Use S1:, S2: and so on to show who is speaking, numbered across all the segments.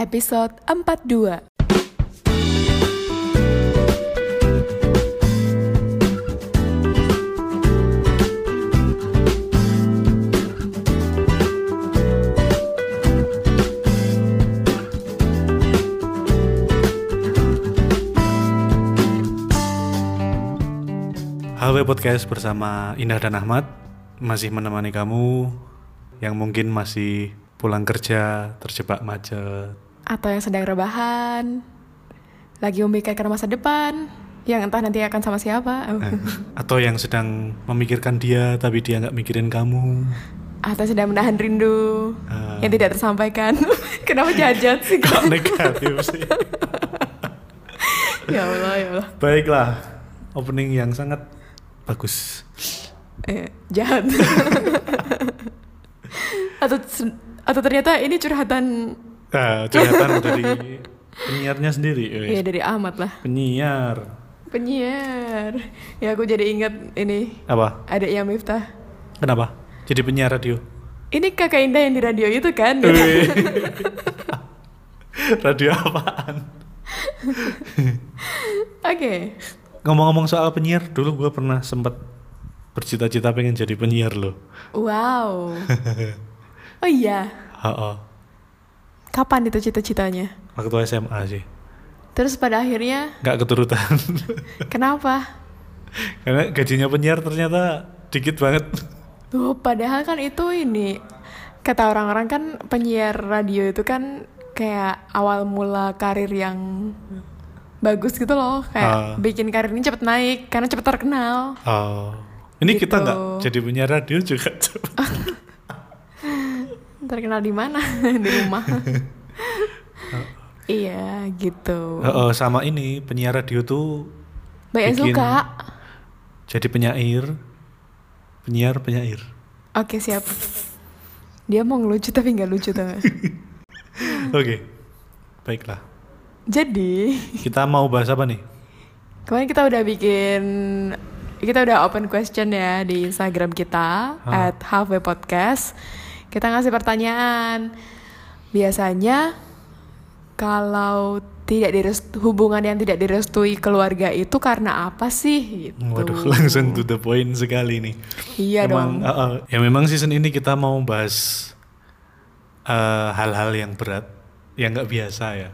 S1: episode 42.
S2: HW Podcast bersama Indah dan Ahmad masih menemani kamu yang mungkin masih pulang kerja terjebak macet.
S1: Atau yang sedang rebahan, lagi memikirkan masa depan, yang entah nanti akan sama siapa.
S2: Eh, Atau yang sedang memikirkan dia tapi dia nggak mikirin kamu.
S1: Atau sedang menahan rindu
S2: Ah.
S1: yang tidak tersampaikan. Kenapa jajat sih?
S2: Kok negatif sih?
S1: ya Allah, ya Allah.
S2: Baiklah, opening yang sangat bagus.
S1: Eh, jahat. atau se- atau ternyata ini curhatan
S2: Eh, curhatan dari penyiarnya sendiri.
S1: ya
S2: eh.
S1: dari Ahmad lah.
S2: Penyiar
S1: Penyiar. Ya aku jadi ingat ini
S2: apa?
S1: adiknya Miftah.
S2: Kenapa? Jadi penyiar radio.
S1: Ini kakak Indah yang di radio itu kan?
S2: Wih. radio apaan?
S1: Oke.
S2: Ngomong-ngomong soal penyiar, dulu gue pernah sempat bercita-cita pengen jadi penyiar loh.
S1: Wow. Oh iya.
S2: Ha-ha.
S1: Kapan itu cita-citanya?
S2: waktu SMA sih.
S1: Terus pada akhirnya
S2: Nggak keturutan.
S1: kenapa?
S2: Karena gajinya penyiar ternyata dikit banget.
S1: Loh, padahal kan itu ini kata orang-orang kan penyiar radio itu kan kayak awal mula karir yang bagus gitu loh,
S2: Ah.
S1: kayak bikin karir ini cepet naik karena cepet terkenal.
S2: Oh. Ini
S1: Gitu.
S2: kita nggak jadi penyiar radio juga.
S1: Terkenal di mana? di rumah. Iya, gitu.
S2: Oh, sama ini penyiar radio tuh
S1: Banyak yang
S2: bikin-
S1: suka.
S2: jadi penyair, penyiar penyair.
S1: Oke, siap. Dia mau ngelucu tapi nggak lucu tuh.
S2: Oke, baiklah.
S1: Jadi,
S2: Kita mau bahas apa nih?
S1: Kemarin kita udah bikin kita udah open question ya di Instagram kita
S2: Ah.
S1: at halfway podcast. Kita ngasih pertanyaan. Biasanya kalau tidak direst hubungan yang tidak direstui keluarga itu karena apa sih gitu.
S2: Waduh, langsung to the point sekali nih.
S1: Iya
S2: Emang,
S1: dong.
S2: uh, uh, ya memang season ini kita mau bahas uh, hal-hal yang berat, yang nggak biasa ya.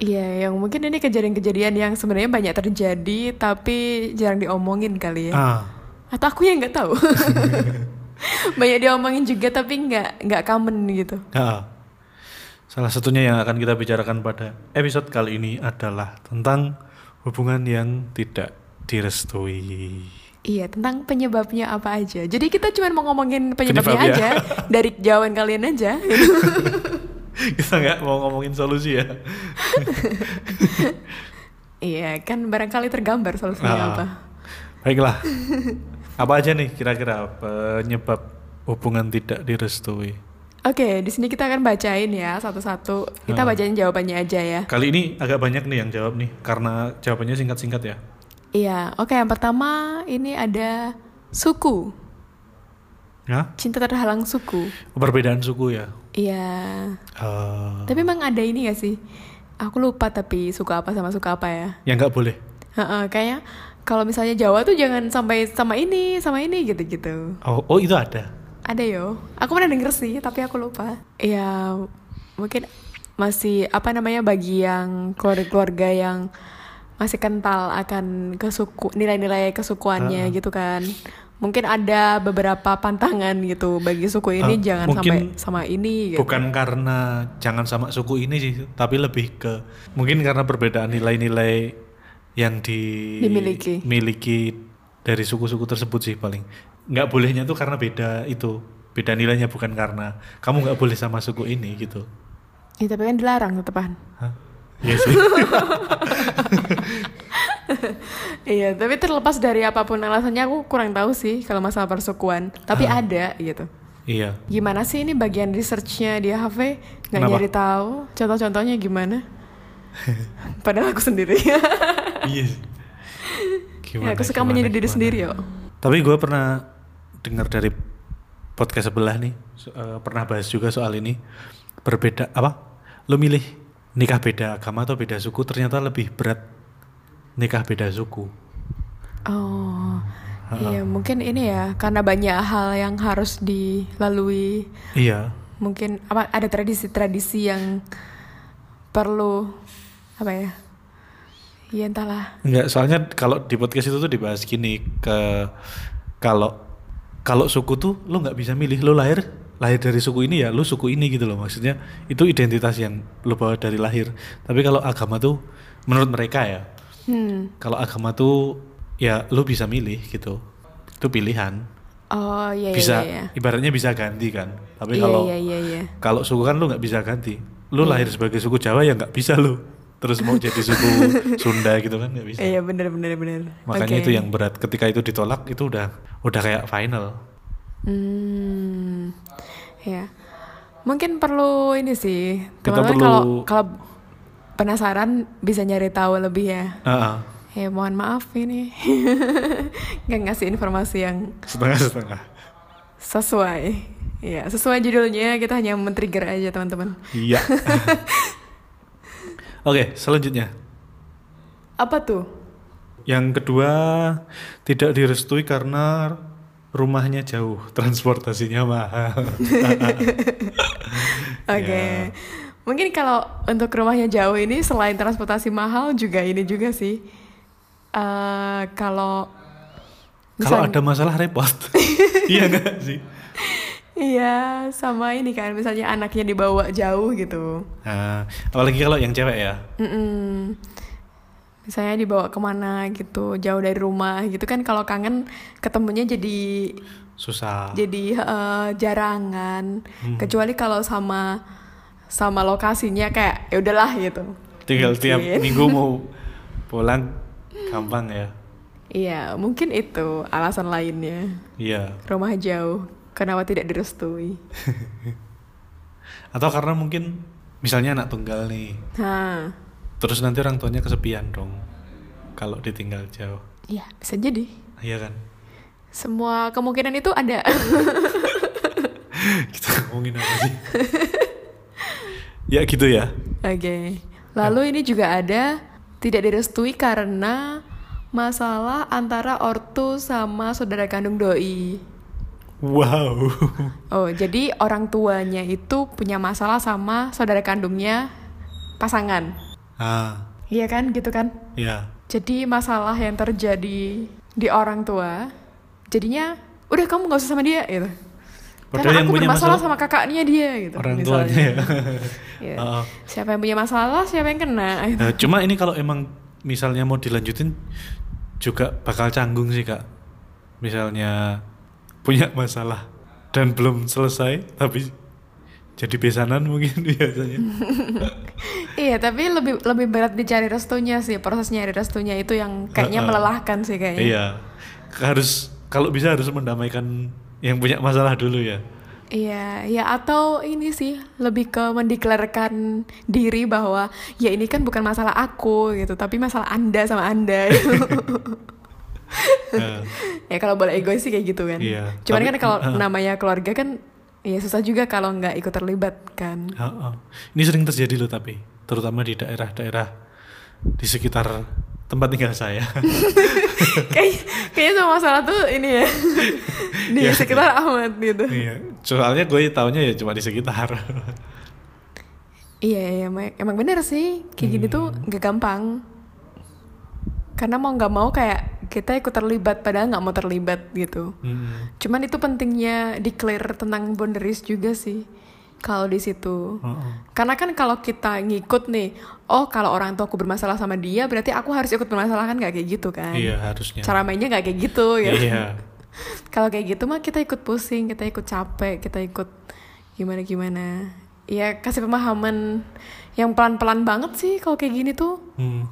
S1: Iya, yang mungkin ini kejadian-kejadian yang sebenarnya banyak terjadi tapi jarang diomongin kali ya.
S2: Ah,
S1: Atau aku yang nggak tahu. banyak diomongin juga tapi nggak nggak common gitu.
S2: ah, ah. Salah satunya yang akan kita bicarakan pada episode kali ini adalah tentang hubungan yang tidak direstui.
S1: Iya, tentang penyebabnya apa aja. Jadi kita cuma mau ngomongin penyebabnya
S2: Penyebabnya.
S1: aja dari jawaban kalian aja.
S2: kita nggak mau ngomongin solusi ya.
S1: iya, kan barangkali tergambar solusinya
S2: Ah.
S1: apa.
S2: Baiklah. Apa aja nih kira-kira penyebab hubungan tidak direstui?
S1: Oke, di sini kita akan bacain ya satu-satu. Kita
S2: Ah.
S1: bacain jawabannya aja ya.
S2: Kali ini agak banyak nih yang jawab nih karena jawabannya singkat-singkat ya.
S1: Iya, oke yang pertama ini ada suku.
S2: Hah?
S1: Cinta terhalang suku.
S2: Perbedaan suku ya.
S1: Iya.
S2: Eh,
S1: Tapi
S2: Ah.
S1: emang ada ini gak sih? Aku lupa tapi suka apa sama suka apa ya.
S2: yang nggak boleh.
S1: Heeh, kayaknya kalau misalnya Jawa tuh jangan sampai sama ini, sama ini gitu-gitu.
S2: Oh, oh itu ada.
S1: Ada yo. Aku pernah denger sih, tapi aku lupa. Ya, mungkin masih apa namanya bagi yang keluarga-keluarga yang masih kental akan kesuku nilai-nilai kesukuannya gitu kan. Mungkin ada beberapa pantangan gitu bagi suku ini
S2: Ah,
S1: jangan sampai
S2: mungkin
S1: sama ini gitu.
S2: Bukan karena jangan sama suku ini sih, tapi lebih ke mungkin karena perbedaan nilai-nilai yang di-
S1: Dimiliki.
S2: miliki dari suku-suku tersebut sih paling. Nggak bolehnya tuh karena beda itu, beda nilainya bukan karena kamu nggak boleh sama suku ini gitu.
S1: Ya, tapi kan dilarang tetepan.
S2: Hah? Iya sih.
S1: Iya, tapi terlepas dari apapun alasannya aku kurang tahu sih kalau masalah persukuan. Tapi ada gitu.
S2: iya.
S1: Gimana sih ini bagian researchnya di HV? Nggak
S2: Kenapa?
S1: nyari tahu. Contoh-contohnya gimana? Padahal aku sendiri.
S2: Iya. sih.
S1: Ya, aku suka
S2: gimana,
S1: menjadi diri
S2: gimana.
S1: sendiri yo.
S2: Tapi gue pernah dengar dari podcast sebelah nih, so- eh, pernah bahas juga soal ini. Berbeda apa? lo milih nikah beda agama atau beda suku ternyata lebih berat nikah beda suku
S1: Oh, iya mungkin ini ya karena banyak hal yang harus dilalui.
S2: iya
S1: Mungkin apa ada tradisi-tradisi yang perlu apa ya? Ya entahlah.
S2: Enggak, soalnya kalau di podcast itu tuh dibahas gini ke kalau kalau suku tuh lo nggak bisa milih lo lahir lahir dari suku ini ya lo suku ini gitu loh maksudnya itu identitas yang lo bawa dari lahir tapi kalau agama tuh menurut mereka ya
S1: Hmm.
S2: kalau agama tuh ya lo bisa milih gitu itu pilihan
S1: Oh iya iya,
S2: bisa
S1: iya.
S2: ibaratnya bisa ganti kan tapi
S1: Iya
S2: kalau
S1: iya iya iya.
S2: kalau suku kan lu nggak bisa ganti lu lahir sebagai suku Jawa ya nggak bisa lu terus mau jadi suku Sunda gitu kan nggak bisa
S1: Iya bener bener bener.
S2: makanya
S1: Oke.
S2: itu yang berat ketika itu ditolak itu udah udah kayak final
S1: Hmm, ya. Mungkin perlu ini sih.
S2: Kita
S1: Teman-teman
S2: perlu-
S1: kalau kalau penasaran bisa nyari tahu lebih ya.
S2: Heeh,
S1: Ya mohon maaf ini nggak ngasih informasi yang
S2: setengah setengah
S1: sesuai. Ya sesuai judulnya kita hanya men-trigger aja teman-teman.
S2: iya oke selanjutnya
S1: Apa tuh?
S2: yang kedua tidak direstui karena rumahnya jauh transportasinya mahal
S1: Oke.
S2: Ya.
S1: Mungkin kalau untuk rumahnya jauh ini selain transportasi mahal juga ini juga sih. Eh kalau
S2: kalau
S1: misalnya-
S2: ada masalah repot iya nggak sih
S1: Iya, sama ini kan misalnya anaknya dibawa jauh gitu.
S2: Nah, apalagi kalau yang cewek ya
S1: Mm-mm. Misalnya dibawa kemana gitu, jauh dari rumah gitu kan kalau kangen ketemunya jadi
S2: susah
S1: jadi eh, jarangan.
S2: Hmm.
S1: Kecuali kalau sama sama lokasinya kayak ya udahlah gitu. ya.
S2: tinggal tiap
S1: Mungkin.
S2: minggu mau pulang gampang ya
S1: Iya, mungkin itu alasan lainnya.
S2: iya
S1: Rumah jauh, kenapa tidak direstui?
S2: atau karena mungkin misalnya anak tunggal nih
S1: Nah,
S2: terus nanti orang tuanya kesepian dong kalau ditinggal jauh
S1: iya bisa jadi.
S2: iya kan
S1: Semua kemungkinan itu ada.
S2: kita ngomongin apa sih ya gitu ya
S1: Oke. Lalu ini juga ada tidak direstui karena masalah antara ortu sama saudara kandung doi.
S2: wow
S1: Oh, jadi orang tuanya itu punya masalah sama saudara kandungnya pasangan.
S2: ah
S1: Iya kan, gitu kan?
S2: ya
S1: Jadi masalah yang terjadi di orang tua, jadinya udah kamu nggak usah sama dia gitu.
S2: Padahal
S1: Karena
S2: yang
S1: aku
S2: punya
S1: bermasalah
S2: masalah-
S1: sama kakaknya dia gitu.
S2: orang
S1: misalnya.
S2: tuanya ya
S1: Iya.
S2: Ah, ah.
S1: Siapa yang punya masalah, siapa yang kena. gitu.
S2: Nah, cuma ini kalau emang misalnya mau dilanjutin juga bakal canggung sih kak misalnya punya masalah dan belum selesai tapi jadi besanan mungkin biasanya
S1: Iya, tapi lebih lebih berat dicari restunya sih. Proses nyari restunya itu yang kayaknya
S2: Heeh.
S1: melelahkan sih kayaknya.
S2: Iya. Harus kalau bisa harus mendamaikan yang punya masalah dulu ya.
S1: Iya, ya atau ini sih lebih ke mendeklarkan diri bahwa ya ini kan bukan masalah aku gitu, tapi masalah Anda sama Anda.
S2: Nah,
S1: ya kalau boleh egois sih kayak gitu kan.
S2: Iya,
S1: Cuman
S2: tapi-
S1: kan kalau
S2: heeh.
S1: namanya keluarga kan ya susah juga kalau nggak ikut terlibat kan.
S2: ha-ha. Nah, oh, Ini sering terjadi loh tapi terutama di daerah-daerah di sekitar tempat tinggal saya.
S1: Kayak kayaknya semua masalah tuh ini ya di
S2: Iya.
S1: sekitar Ahmad gitu.
S2: iya. Soalnya gue taunya ya cuma di sekitar.
S1: Iya, iya emang, emang bener sih kayak gini tuh
S2: Hmm.
S1: gak gampang karena mau nggak mau kayak kita ikut terlibat padahal nggak mau terlibat gitu
S2: Hmm.
S1: cuman itu pentingnya declare tentang boundaries juga sih kalau di situ
S2: Ha-ha.
S1: karena kan kalau kita ngikut nih oh kalau orang tua aku bermasalah sama dia berarti aku harus ikut bermasalah kan nggak kayak gitu kan
S2: Iya harusnya.
S1: cara mainnya nggak kayak gitu ya
S2: Iya.
S1: kalau kayak gitu mah kita ikut pusing, kita ikut capek, kita ikut gimana gimana. Ya kasih pemahaman yang pelan-pelan banget sih kalau kayak gini tuh.
S2: Hmm.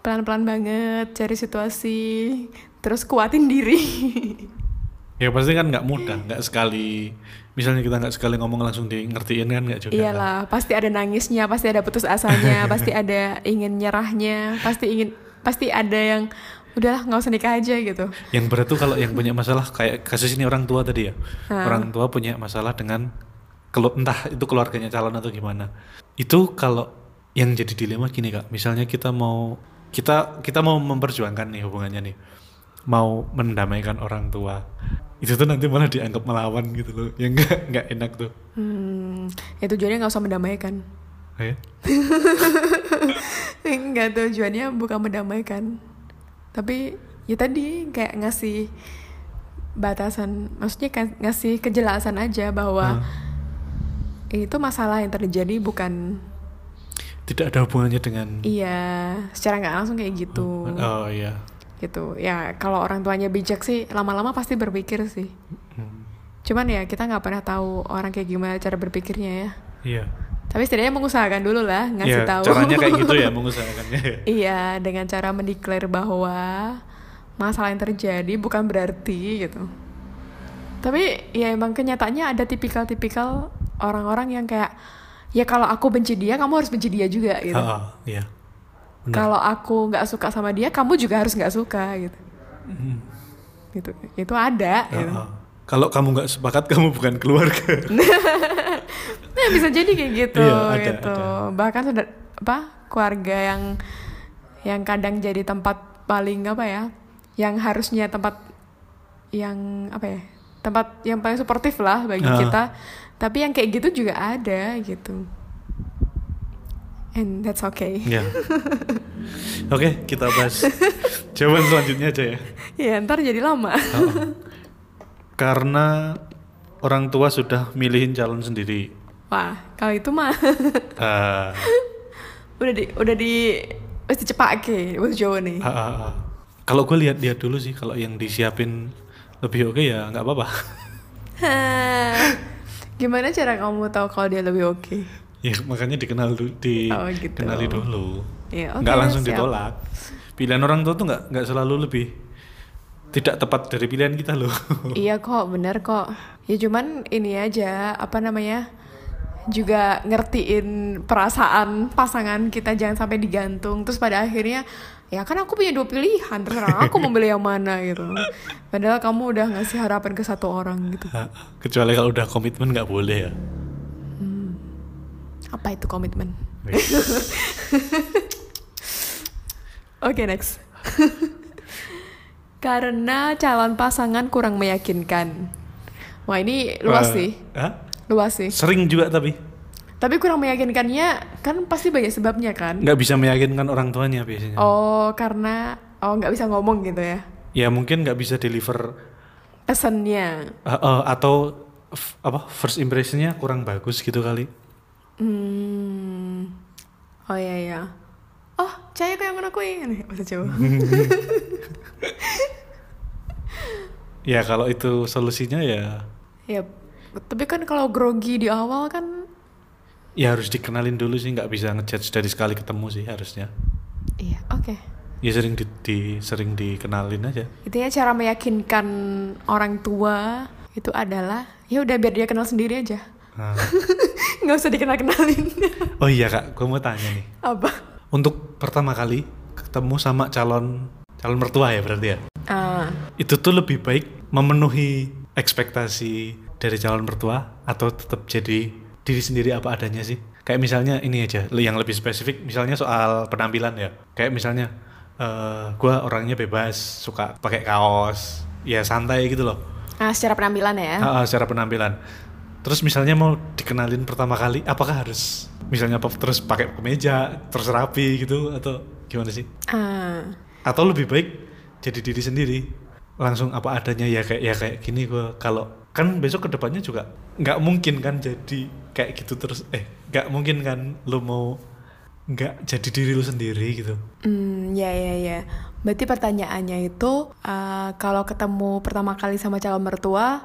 S1: Pelan-pelan banget cari situasi, terus kuatin diri.
S2: Ya pasti kan nggak mudah, nggak sekali. Misalnya kita nggak sekali ngomong langsung di ngertiin kan nggak juga.
S1: Iyalah, pasti ada nangisnya, pasti ada putus asanya, pasti ada ingin nyerahnya, pasti ingin pasti ada yang udahlah nggak usah nikah aja gitu.
S2: Yang berat tuh kalau yang punya masalah kayak kasus ini orang tua tadi ya. Orang tua punya masalah dengan kalau entah itu keluarganya calon atau gimana itu kalau yang jadi dilema gini kak misalnya kita mau kita kita mau memperjuangkan nih hubungannya nih mau mendamaikan orang tua itu tuh nanti malah dianggap melawan gitu loh yang nggak nggak enak tuh
S1: Hmm, ya tujuannya nggak usah mendamaikan.
S2: ya
S1: Enggak, tujuannya bukan mendamaikan. Tapi ya tadi kayak ngasih batasan, maksudnya ka- ngasih kejelasan aja bahwa
S2: Ah.
S1: itu masalah yang terjadi bukan
S2: tidak ada hubungannya dengan
S1: iya secara nggak langsung kayak gitu.
S2: oh iya
S1: Gitu. Ya kalau orang tuanya bijak sih lama-lama pasti berpikir sih.
S2: Hmm.
S1: Cuman ya kita nggak pernah tahu orang kayak gimana cara berpikirnya ya.
S2: iya
S1: Tapi setidaknya mengusahakan dulu lah ngasih
S2: Iya,
S1: tahu.
S2: caranya kayak gitu ya mengusahakannya ya.
S1: Iya, dengan cara mendeklar bahwa masalah yang terjadi bukan berarti gitu. Tapi ya emang kenyataannya ada tipikal-tipikal orang-orang yang kayak ya kalau aku benci dia, kamu harus benci dia juga gitu.
S2: Ah, ah, iya benar.
S1: Kalau aku nggak suka sama dia, kamu juga harus nggak suka gitu.
S2: Mm.
S1: Gitu. Itu ada
S2: Ah,
S1: gitu.
S2: ah. Kalau kamu nggak sepakat, kamu bukan keluarga.
S1: Nah, bisa jadi kayak gitu
S2: Iya, ada,
S1: gitu. Bahkan sudah apa? keluarga yang yang kadang jadi tempat paling apa ya? Yang harusnya tempat yang apa ya? Tempat yang paling suportif lah bagi
S2: Ah.
S1: kita. Tapi yang kayak gitu juga ada gitu. And that's okay.
S2: Ya. Oke, kita bahas jawaban selanjutnya aja ya.
S1: ya, ntar jadi lama.
S2: Oh. Karena orang tua sudah milihin calon sendiri.
S1: Wah, kalau itu mah
S2: Ah,
S1: udah di udah di wis dicepake wis Jawa nih.
S2: ah, ah, ah. Kalau gue lihat-lihat dulu sih, kalau yang disiapin lebih oke ya nggak apa-apa. Ah.
S1: Hah. Gimana cara kamu tahu kalau dia lebih oke?
S2: ya makanya dikenal dulu,
S1: Oh, gitu.
S2: dikenali dulu.
S1: Ya, oke,
S2: Nggak langsung
S1: siap.
S2: ditolak. Pilihan orang tua tuh nggak nggak selalu lebih tidak tepat dari pilihan kita loh.
S1: Iya kok, bener kok. Ya cuman ini aja, apa namanya? Juga ngertiin perasaan pasangan kita jangan sampai digantung. Terus pada akhirnya, ya kan aku punya dua pilihan, terserah aku mau pilih yang mana gitu. Padahal kamu udah ngasih harapan ke satu orang gitu.
S2: Ah, Kecuali kalau udah komitmen nggak boleh ya.
S1: Apa itu komitmen? Oke, next. Karena calon pasangan kurang meyakinkan. Wah, ini luas
S2: Eh,
S1: sih.
S2: hah?
S1: Luas sih.
S2: Sering juga tapi
S1: Tapi kurang meyakinkannya kan pasti banyak sebabnya kan?
S2: nggak bisa meyakinkan orang tuanya biasanya.
S1: Oh, karena oh nggak bisa ngomong gitu ya.
S2: Ya mungkin nggak bisa deliver
S1: Pesennya.
S2: eh, eh, atau f- apa first impressionnya kurang bagus gitu kali.
S1: Hmm. Oh iya iya. Oh, cahaya kau yang ngono kuwi. Nih, Bahasa Jawa.
S2: Ya kalau itu solusinya ya
S1: ya, tapi kan kalau grogi di awal kan
S2: ya harus dikenalin dulu sih nggak bisa ngejudge dari sekali ketemu sih harusnya.
S1: iya, oke.
S2: Ya sering di, di- sering dikenalin aja.
S1: Intinya cara meyakinkan orang tua itu adalah ya udah biar dia kenal sendiri aja.
S2: Ah.
S1: nggak usah dikenal-kenalin.
S2: Oh iya kak, gue mau tanya nih.
S1: Apa?
S2: Untuk pertama kali ketemu sama calon calon mertua ya berarti ya.
S1: Ah.
S2: itu tuh lebih baik memenuhi ekspektasi dari calon mertua atau tetap jadi diri sendiri apa adanya sih? Kayak misalnya ini aja, le- yang lebih spesifik, misalnya soal penampilan ya. Kayak misalnya, eh gua orangnya bebas, suka pakai kaos, ya santai gitu loh.
S1: Ah, secara penampilan ya.
S2: Ah, ah, secara penampilan. Terus misalnya mau dikenalin pertama kali, apakah harus misalnya apa- terus pakai kemeja, terus rapi gitu atau gimana sih?
S1: Ah.
S2: atau lebih baik jadi diri sendiri langsung apa adanya ya kayak ya kayak gini gue kalau kan besok kedepannya juga nggak mungkin kan jadi kayak gitu terus eh nggak mungkin kan lo mau nggak jadi diri lo sendiri gitu
S1: Hmm, ya ya ya. Berarti pertanyaannya itu eh, kalau ketemu pertama kali sama calon mertua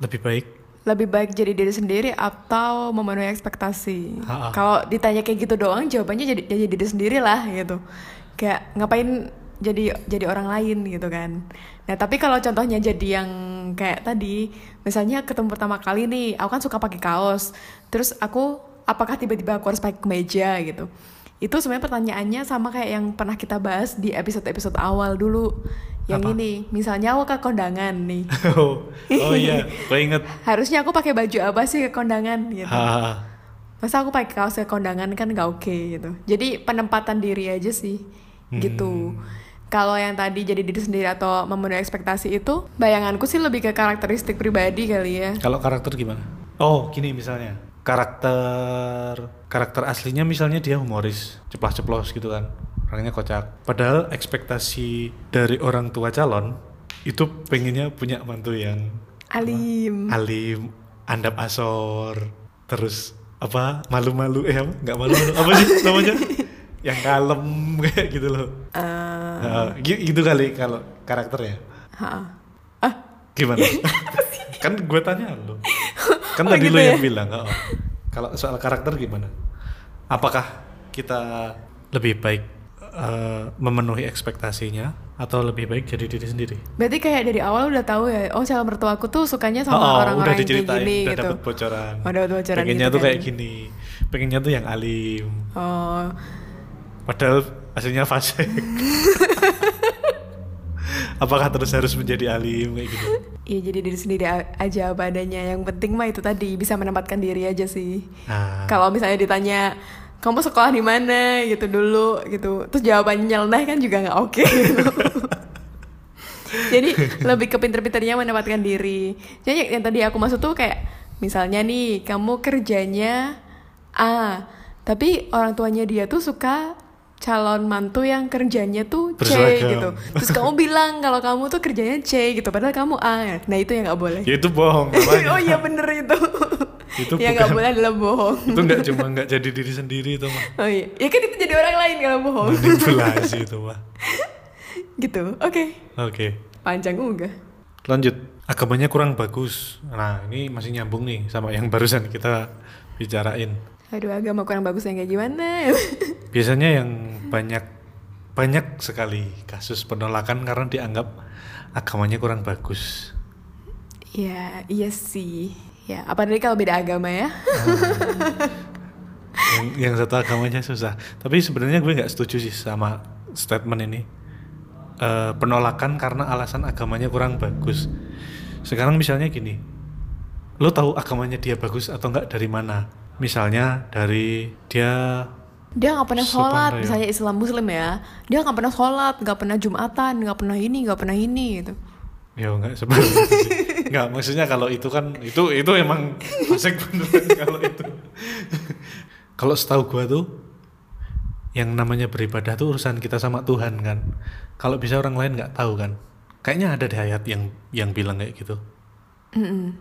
S2: lebih baik
S1: lebih baik jadi diri sendiri atau memenuhi ekspektasi.
S2: Ha-ha.
S1: Kalau ditanya kayak gitu doang jawabannya jadi jadi diri sendiri lah gitu. Kayak ngapain jadi jadi orang lain gitu kan. Nah, tapi kalau contohnya jadi yang kayak tadi, misalnya ketemu pertama kali nih, aku kan suka pakai kaos. Terus aku apakah tiba-tiba aku harus pakai kemeja gitu. Itu sebenarnya pertanyaannya sama kayak yang pernah kita bahas di episode-episode awal dulu yang
S2: Apa?
S1: ini misalnya aku ke kondangan nih
S2: oh, oh iya, gue inget.
S1: harusnya aku pakai baju apa sih ke kondangan gitu
S2: Hahaha.
S1: masa aku pakai kaos ke kondangan kan nggak oke gitu jadi penempatan diri aja sih
S2: Hmm.
S1: gitu kalau yang tadi jadi diri sendiri atau memenuhi ekspektasi itu bayanganku sih lebih ke karakteristik pribadi kali ya
S2: Kalau karakter gimana? Oh, gini misalnya. Karakter karakter aslinya misalnya dia humoris, ceplas-ceplos gitu kan. Orangnya kocak. Padahal ekspektasi dari orang tua calon itu pengennya punya mantu yang
S1: alim
S2: alim, andap asor, terus apa malu-malu eh apa? nggak malu-malu apa sih namanya? yang kalem kayak gitu loh.
S1: Eh,
S2: Nah, gi- gitu kali kalau karakternya.
S1: ha-ah.
S2: Gimana? kan gue tanya lo. Kan
S1: Oh,
S2: tadi
S1: gitu
S2: lo
S1: ya?
S2: yang bilang. oh. Kalau soal karakter gimana? Apakah kita lebih baik eh, memenuhi ekspektasinya atau lebih baik jadi diri sendiri?
S1: berarti kayak dari awal udah tahu ya oh calon mertuaku tuh sukanya sama
S2: Oh, oh,
S1: orang-orang
S2: udah
S1: yang kayak
S2: diceritain,
S1: gini
S2: udah
S1: gitu
S2: dapet bocoran.
S1: Oh, dapet bocoran
S2: Pengennya
S1: gitu
S2: tuh kayak
S1: kan.
S2: gini. Pengennya tuh yang alim.
S1: oh
S2: Padahal hasilnya fase. Apakah terus harus menjadi alim kayak gitu?
S1: Iya jadi diri sendiri a- aja apa adanya. Yang penting mah itu tadi bisa menempatkan diri aja sih.
S2: Nah.
S1: Kalau misalnya ditanya kamu sekolah di mana gitu dulu gitu, terus jawabannya nyeleneh kan juga nggak oke. gitu. jadi lebih ke pinter-pinternya menempatkan diri. Jadi yang, yang tadi aku maksud tuh kayak misalnya nih kamu kerjanya A, tapi orang tuanya dia tuh suka calon mantu yang kerjanya tuh C
S2: Berseragam.
S1: gitu. Terus kamu bilang kalau kamu tuh kerjanya C gitu, padahal kamu A. Nah itu yang nggak boleh.
S2: Ya itu bohong. namanya.
S1: oh iya bener itu.
S2: Itu
S1: yang nggak
S2: bukan-
S1: boleh adalah bohong.
S2: itu nggak cuma nggak jadi diri sendiri itu mah
S1: Oh iya, ya kan itu jadi orang lain kalau bohong.
S2: manipulasi itu mah
S1: gitu, oke.
S2: oke
S1: Panjang enggak?
S2: lanjut agamanya kurang bagus nah ini masih nyambung nih sama yang barusan kita bicarain
S1: Aduh agama kurang bagus yang kayak gimana?
S2: biasanya yang banyak banyak sekali kasus penolakan karena dianggap agamanya kurang bagus
S1: ya iya sih. Ya apalagi kalau beda agama ya.
S2: yang, yang satu agamanya susah tapi sebenarnya gue nggak setuju sih sama statement ini Eh, penolakan karena alasan agamanya kurang bagus sekarang misalnya gini lo tahu agamanya dia bagus atau nggak dari mana misalnya dari dia
S1: Dia nggak pernah
S2: Sopan
S1: sholat,
S2: raya.
S1: misalnya Islam Muslim ya. Dia nggak pernah sholat, nggak pernah jumatan, nggak pernah ini, nggak pernah ini gitu.
S2: ya nggak seperti itu sih. nggak maksudnya kalau itu kan itu itu emang asik beneran kalau itu kalau setahu gua tuh yang namanya beribadah tuh urusan kita sama Tuhan kan kalau bisa orang lain nggak tahu kan kayaknya ada deh ayat yang yang bilang kayak gitu
S1: Mm-mm.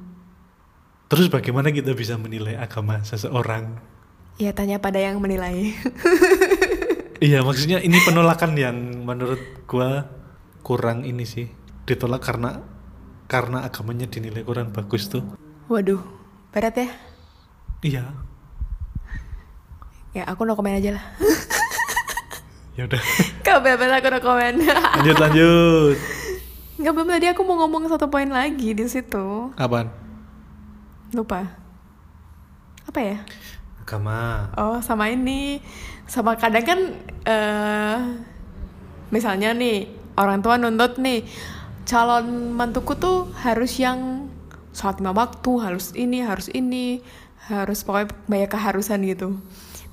S2: terus bagaimana kita bisa menilai agama seseorang
S1: Ya tanya pada yang menilai.
S2: iya maksudnya ini penolakan yang menurut gua kurang ini sih ditolak karena karena agamanya dinilai kurang bagus tuh
S1: Waduh, berat ya.
S2: iya
S1: Ya aku no komen aja lah.
S2: ya udah
S1: Gak bener aku no komen.
S2: lanjut lanjut
S1: Gak bener tadi aku mau ngomong satu poin lagi di situ.
S2: apaan
S1: Lupa. Apa ya?
S2: agama
S1: Oh, sama ini. Sama kadang kan eh misalnya nih orang tua nuntut nih calon mantuku tuh harus yang sholat lima waktu, harus ini, harus ini, harus pokoknya banyak keharusan gitu.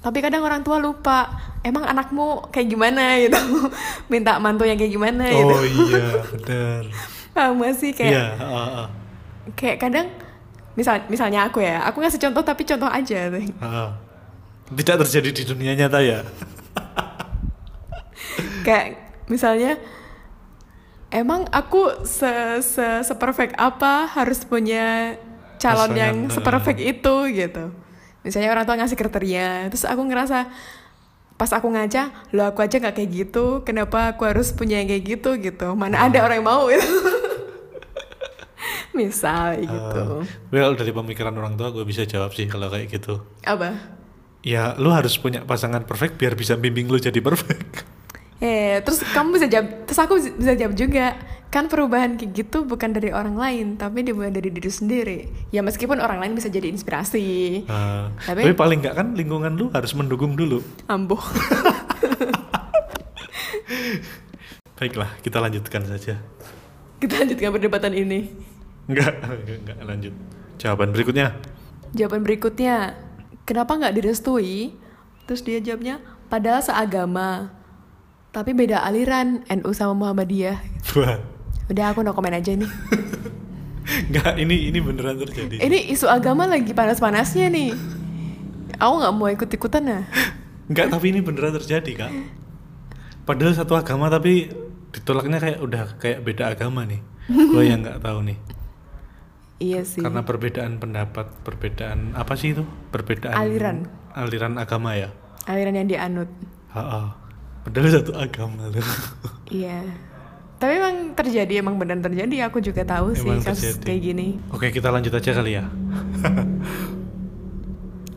S1: Tapi kadang orang tua lupa, emang anakmu kayak gimana gitu. Minta mantu yang kayak gimana gitu.
S2: oh iya benar
S1: Paham gak sih kayak
S2: iya ah, ah,
S1: kayak kadang misal misalnya aku ya, aku ngasih contoh tapi contoh aja.
S2: ah, ah. tidak terjadi di dunia nyata ya
S1: kayak misalnya emang aku se se seperfect apa harus punya calon
S2: Pasangan,
S1: yang
S2: eh.
S1: seperfect itu gitu misalnya orang tua ngasih kriteria terus aku ngerasa pas aku ngaca lo aku aja nggak kayak gitu kenapa aku harus punya yang kayak gitu gitu mana ada orang yang mau gitu misal
S2: Ah.
S1: gitu
S2: well dari pemikiran orang tua gue bisa jawab sih kalau kayak gitu
S1: apa
S2: ya lu harus punya pasangan perfect biar bisa bimbing lu jadi perfect
S1: eh terus kamu bisa jawab terus aku bisa- bisa jawab juga kan perubahan kayak gitu bukan dari orang lain tapi dimulai dari diri sendiri ya meskipun orang lain bisa jadi inspirasi
S2: Ah,
S1: Tapi-
S2: tapi paling nggak kan lingkungan lu harus mendukung dulu
S1: ambuh
S2: Baiklah, kita lanjutkan saja.
S1: Kita lanjutkan perdebatan ini.
S2: Enggak, enggak, enggak lanjut. Jawaban berikutnya.
S1: Jawaban berikutnya, kenapa nggak direstui? Terus dia jawabnya, padahal seagama, tapi beda aliran NU sama Muhammadiyah.
S2: Wah.
S1: Udah aku no komen aja nih.
S2: Enggak, ini ini beneran terjadi.
S1: Ini isu agama lagi panas-panasnya nih. Aku nggak mau ikut-ikutan nah.
S2: Enggak, tapi ini beneran terjadi, Kak. Padahal satu agama tapi ditolaknya kayak udah kayak beda agama nih. Gue yang nggak tahu nih.
S1: Iya sih.
S2: Karena perbedaan pendapat, perbedaan apa sih itu? Perbedaan
S1: Aliran.
S2: aliran agama ya.
S1: Aliran yang dianut.
S2: Heeh. Padahal satu agama loh.
S1: Iya. Tapi emang terjadi, emang benar terjadi. Aku juga tahu sih
S2: Emang
S1: kasus
S2: terjadi.
S1: kayak gini.
S2: Oke, kita lanjut aja kali ya.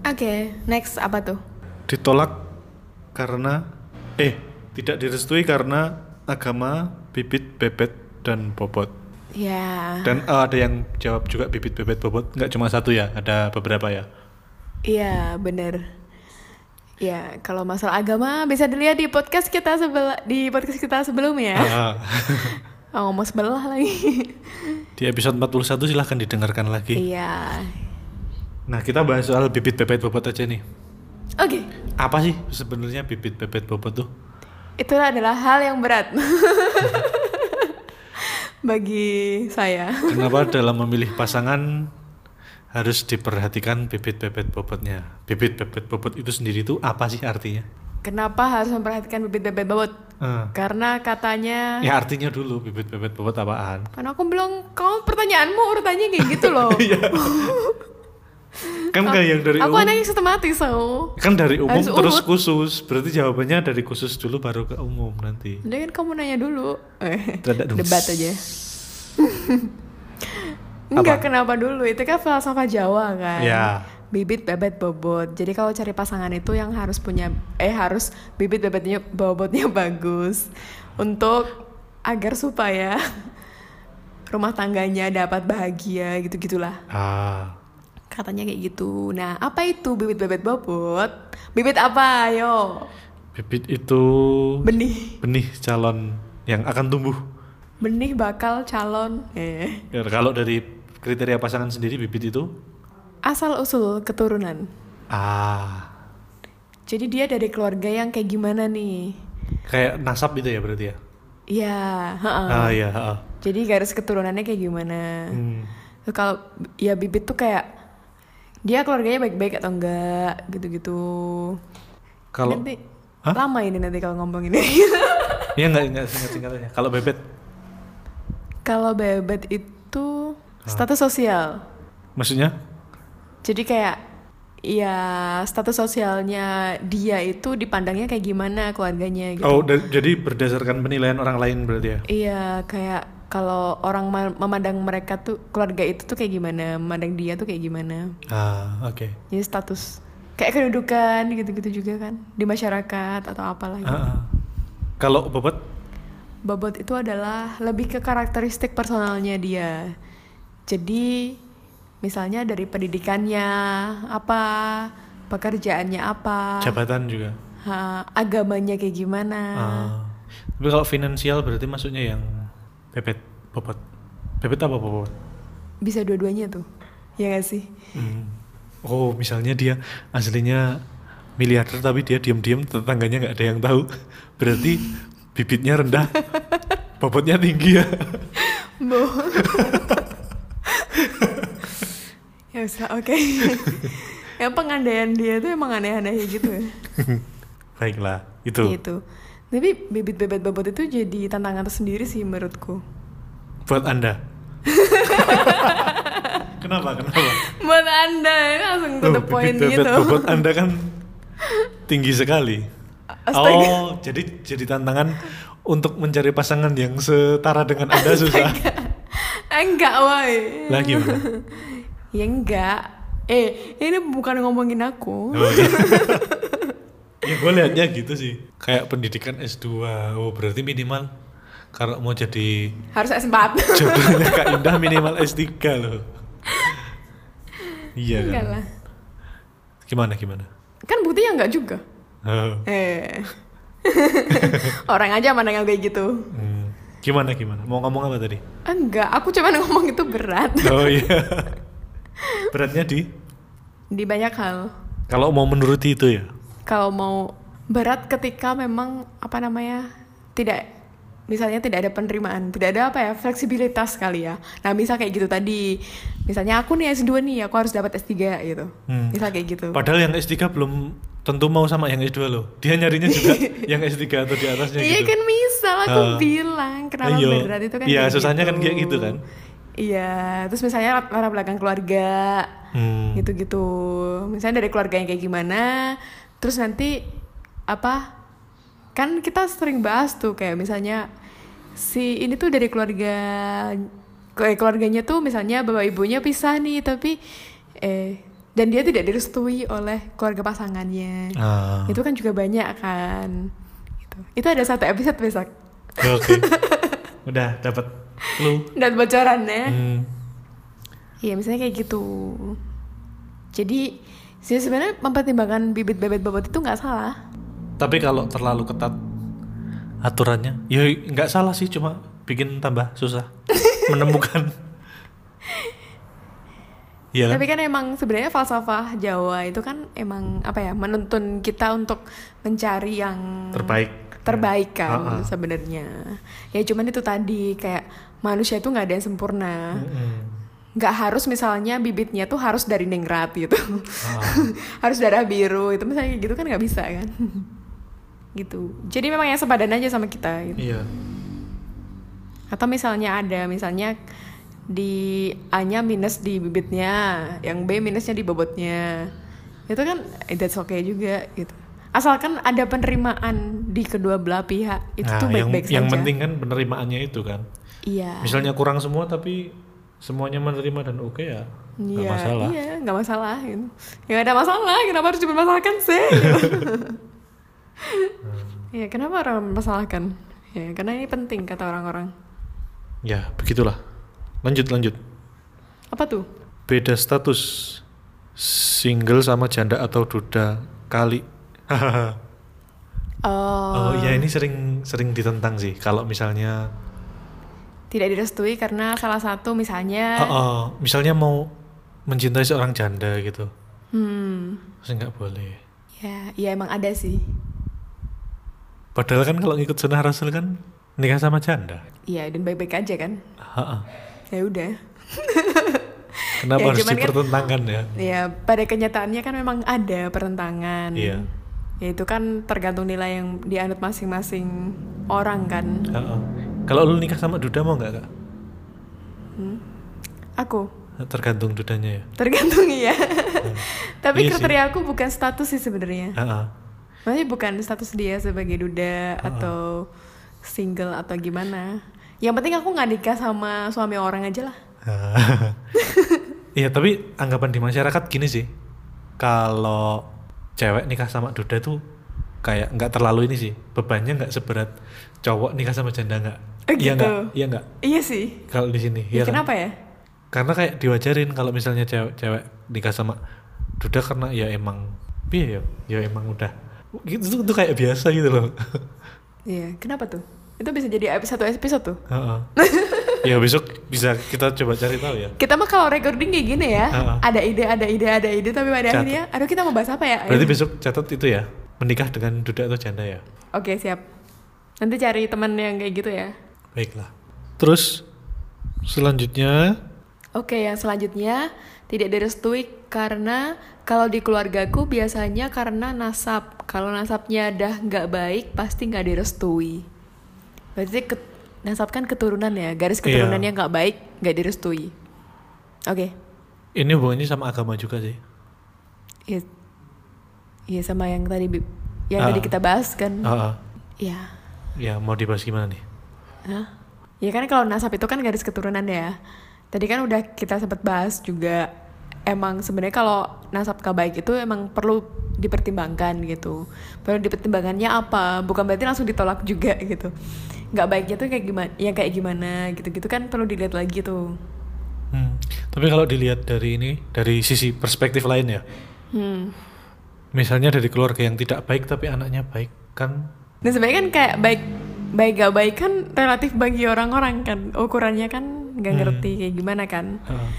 S1: Oke, next apa tuh?
S2: Ditolak karena eh tidak direstui karena agama, bibit, bebet dan bobot.
S1: Ya.
S2: Dan eh, ada yang jawab juga bibit, bebet, bobot. Nggak cuma satu ya, ada beberapa ya.
S1: Iya, bener. Ya, kalau masalah agama bisa dilihat di podcast kita sebel di podcast kita sebelumnya.
S2: Ah,
S1: Oh, ngomong sebelah lagi.
S2: di episode 41 silahkan didengarkan lagi.
S1: Iya.
S2: Nah, kita bahas soal bibit, bebet, bobot aja nih.
S1: Oke,
S2: Apa sih sebenarnya bibit, bebet, bobot tuh?
S1: itulah adalah hal yang berat. Bagi saya.
S2: Kenapa dalam memilih pasangan harus diperhatikan bibit bebet bobotnya? Bibit bebet bobot itu sendiri itu apa sih artinya?
S1: Kenapa harus memperhatikan bibit bebek bobot?
S2: Eh,
S1: Karena katanya
S2: Ya artinya dulu bibit bebet bobot apaan?
S1: Karena aku belum kamu pertanyaanmu urutannya kayak gitu loh.
S2: Kan kayak Iya, yang dari
S1: aku
S2: umum,
S1: anaknya sistematis so.
S2: kan dari umum
S1: harus
S2: terus
S1: urut.
S2: khusus. Berarti jawabannya dari khusus dulu baru ke umum nanti.
S1: Udah kan kamu nanya dulu. Eh,
S2: Tidak dong.
S1: debat aja. Enggak kenapa dulu, itu kan falsafah Jawa kan.
S2: Ya.
S1: Bibit bebet bobot. Jadi kalau cari pasangan itu yang harus punya eh harus bibit bebetnya bobotnya bagus untuk agar supaya rumah tangganya dapat bahagia gitu-gitulah.
S2: Ah,
S1: Katanya kayak gitu. Nah, apa itu bibit bebet bobot? Bibit apa, ayo?
S2: bibit itu
S1: Benih.
S2: benih calon yang akan tumbuh.
S1: Benih bakal calon. Eh.
S2: Ya, Kalau dari kriteria pasangan sendiri bibit itu
S1: Asal usul keturunan.
S2: ah
S1: Jadi dia dari keluarga yang kayak gimana nih?
S2: kayak nasab gitu ya berarti ya?
S1: Ya, heeh.
S2: Ah ya. ah.
S1: Jadi garis keturunannya kayak gimana?
S2: Hmm.
S1: Terus Kalau ya bibit tuh kayak dia keluarganya baik-baik atau enggak gitu-gitu.
S2: Kalau
S1: nanti
S2: Hah?
S1: lama ini nanti kalau ngomong ini.
S2: ya nggak nggak singkat singkatannya. Kalau bebet
S1: kalau bebet itu
S2: Ah.
S1: status sosial.
S2: maksudnya
S1: Jadi kayak ya status sosialnya dia itu dipandangnya kayak gimana keluarganya gitu.
S2: oh da- jadi berdasarkan penilaian orang lain berarti ya?
S1: Iya, kayak kalau orang ma- memandang mereka tuh keluarga itu tuh kayak gimana, memandang dia tuh kayak gimana.
S2: Ah oke.
S1: Jadi status kayak kedudukan gitu-gitu juga kan di masyarakat atau apalah. gitu.
S2: Ah, ah. Kalau bobot
S1: Bobot itu adalah lebih ke karakteristik personalnya dia. Jadi misalnya dari pendidikannya apa, pekerjaannya apa.
S2: jabatan juga.
S1: Ha, agamanya kayak gimana?
S2: Ah. Tapi kalau finansial berarti maksudnya yang bebet bobot. Bebet apa bobot?
S1: Bisa dua-duanya tuh. Ya gak sih?
S2: Hmm. Oh misalnya dia aslinya miliarder tapi dia diam-diam tetangganya nggak ada yang tahu. Berarti bibitnya rendah, bobotnya tinggi ya.
S1: Bohong. ya bisa, oke. yang pengandaian dia tuh emang aneh-aneh gitu ya.
S2: Baiklah, itu.
S1: Gitu. Tapi bibit-bibit bobot itu jadi tantangan tersendiri sih menurutku.
S2: buat anda kenapa kenapa
S1: Buat anda ya, langsung to the
S2: Tuh,
S1: point
S2: bibit
S1: gitu.
S2: bebet Oh, bobot anda kan tinggi sekali
S1: Astaga.
S2: oh jadi jadi tantangan untuk mencari pasangan yang setara dengan anda susah
S1: Eh, enggak, woi.
S2: lagi gimana
S1: Ya enggak. Eh, ini bukan ngomongin aku.
S2: Oh, iya. ya gue liatnya gitu sih kayak pendidikan S2 oh berarti minimal kalau mau jadi
S1: Harus S4.
S2: jodohnya Kak Indah minimal S3 loh iya
S1: enggak
S2: kan
S1: lah.
S2: gimana gimana
S1: Kan buktinya enggak juga.
S2: Oh.
S1: Eh. Orang aja mandang yang kayak gitu.
S2: Hmm. Gimana gimana? Mau ngomong apa tadi?
S1: Enggak, aku cuman ngomong itu berat
S2: Oh iya. Beratnya di
S1: di banyak hal.
S2: kalau mau menuruti itu ya.
S1: Kalau mau berat ketika memang apa namanya tidak misalnya tidak ada penerimaan, tidak ada apa ya fleksibilitas kali ya. Nah, misal kayak gitu tadi. Misalnya aku nih S2 nih, aku harus dapat S3 gitu.
S2: Hmm.
S1: Misal kayak gitu.
S2: Padahal yang S3 belum tentu mau sama yang S2 loh. Dia nyarinya juga yang S3 atau di atasnya
S1: Iya
S2: gitu.
S1: kan misal aku
S2: Ah.
S1: bilang kenapa
S2: Ayo.
S1: berat itu kan
S2: Iya,
S1: kayak
S2: susahnya kan kayak gitu kan.
S1: Iya, terus misalnya lat- latar belakang keluarga
S2: Hmm.
S1: gitu-gitu. Misalnya dari keluarganya kayak gimana, terus nanti apa? Kan kita sering bahas tuh kayak misalnya si ini tuh dari keluarga kayak keluarganya tuh misalnya bapak ibunya pisah nih tapi eh dan dia tidak direstui oleh keluarga pasangannya
S2: Ah.
S1: itu kan juga banyak kan gitu. itu ada satu episode besok
S2: Oke. Udah dapat clue.
S1: dan bocorannya
S2: Hmm.
S1: iya misalnya kayak gitu jadi sih sebenarnya mempertimbangkan bibit bebet bobot itu nggak salah
S2: Tapi kalau terlalu ketat aturannya, ya nggak salah sih, cuma bikin tambah susah menemukan. Iya kan?
S1: tapi kan emang sebenarnya falsafah Jawa itu kan emang apa ya menuntun kita untuk mencari yang
S2: Terbaik.
S1: terbaik kan
S2: Ha-ha.
S1: sebenarnya ya cuman itu tadi kayak manusia itu nggak ada yang sempurna
S2: Mm-mm.
S1: nggak harus misalnya bibitnya tuh harus dari ningrat gitu
S2: Ah.
S1: harus darah biru itu misalnya kayak gitu kan nggak bisa kan gitu jadi memang yang sepadan aja sama kita gitu.
S2: Iya.
S1: atau misalnya ada misalnya di A nya minus di bibitnya yang B minusnya di bobotnya itu kan eh, that's okay juga gitu asalkan ada penerimaan di kedua belah pihak itu
S2: Nah,
S1: tuh
S2: yang
S1: baik-baik saja
S2: yang penting kan penerimaannya itu kan.
S1: iya
S2: Misalnya kurang semua tapi semuanya menerima dan oke ya, nggak
S1: Iya,
S2: masalah.
S1: Iya, nggak masalah. Gitu. Ya nggak ada masalah. Kenapa harus dipermasalahkan sih? Gitu. Iya, kenapa orang mempermasalahkan? Ya, karena ini penting kata orang-orang.
S2: Ya begitulah. Lanjut lanjut.
S1: Apa tuh?
S2: Beda status single sama janda atau duda kali. Hahaha.
S1: Oh,
S2: Oh iya ini sering sering ditentang sih kalau misalnya
S1: tidak direstui karena salah satu
S2: oh,
S1: misalnya.
S2: oh, misalnya mau mencintai seorang janda gitu
S1: Hmm,
S2: terus nggak boleh.
S1: ya, ya emang ada sih.
S2: Padahal kan kalau ngikut sunnah rasul kan nikah sama janda.
S1: Iya, dan baik-baik aja kan.
S2: Ha-ha.
S1: Ya udah.
S2: Kenapa
S1: Ya,
S2: harus
S1: cuman kan-
S2: dipertentangkan ya?
S1: Ya, pada kenyataannya kan memang ada pertentangan.
S2: Iya.
S1: Ya itu kan tergantung nilai yang dianut masing-masing orang kan.
S2: Ha-ha. Kalau lu nikah sama duda mau nggak kak?
S1: Aku
S2: Tergantung dudanya ya.
S1: tergantung iya tapi
S2: Iya sih.
S1: kriteria aku bukan status sih sebenarnya
S2: Ha-ha.
S1: maksudnya bukan status dia sebagai duda atau single atau gimana yang penting aku nggak nikah sama suami orang aja lah
S2: Ah. Iya tapi anggapan di masyarakat gini sih kalau cewek nikah sama duda tuh kayak nggak terlalu ini sih bebannya nggak seberat cowok nikah sama janda nggak
S1: Eh,
S2: iya
S1: gitu.
S2: nggak iya nggak
S1: iya sih
S2: kalau di sini
S1: ya,
S2: iya kan?
S1: kenapa ya
S2: karena kayak diwajarin kalau misalnya cewek-cewek nikah sama duda karena ya emang iya ya ya emang udah gitu tuh, tuh kayak biasa gitu loh
S1: iya kenapa tuh itu bisa jadi epi- satu episode tuh
S2: Heeh. ya besok bisa kita coba cari tahu ya
S1: kita mah kalau recording kayak gini ya
S2: Ah, ah.
S1: ada ide ada ide ada ide tapi pada
S2: Catat.
S1: akhirnya aduh kita mau bahas apa ya
S2: berarti besok catat itu ya menikah dengan duda atau janda ya
S1: oke siap nanti cari teman yang kayak gitu ya
S2: Baiklah. Terus selanjutnya
S1: Oke, yang selanjutnya tidak direstui karena kalau di keluargaku biasanya karena nasab. Kalau nasabnya dah nggak baik, pasti nggak direstui. Berarti ket- nasab kan keturunan ya, garis
S2: Iya.
S1: keturunannya nggak baik, nggak direstui. Oke,
S2: ini hubungannya sama agama juga sih.
S1: iya Iya, sama yang tadi bi- yang
S2: Ah.
S1: tadi kita bahas kan.
S2: Heeh.
S1: Iya.
S2: Ah, Ya mau dibahas gimana nih?
S1: Hah? Ya kan kalau nasab itu kan garis keturunan ya. Tadi kan udah kita sempat bahas juga emang sebenarnya kalau nasab kabaik itu emang perlu dipertimbangkan gitu. Perlu dipertimbangkannya apa? Bukan berarti langsung ditolak juga gitu. Nggak baiknya tuh kayak gimana? Ya kayak gimana gitu-gitu kan perlu dilihat lagi tuh.
S2: Hmm. Tapi kalau dilihat dari ini dari sisi perspektif lain ya,
S1: Hmm.
S2: misalnya dari keluarga yang tidak baik tapi anaknya baik kan?
S1: Dan sebenarnya kan kayak baik baik gak baik kan relatif bagi orang-orang kan ukurannya kan nggak
S2: Hmm.
S1: ngerti kayak gimana kan
S2: Heeh.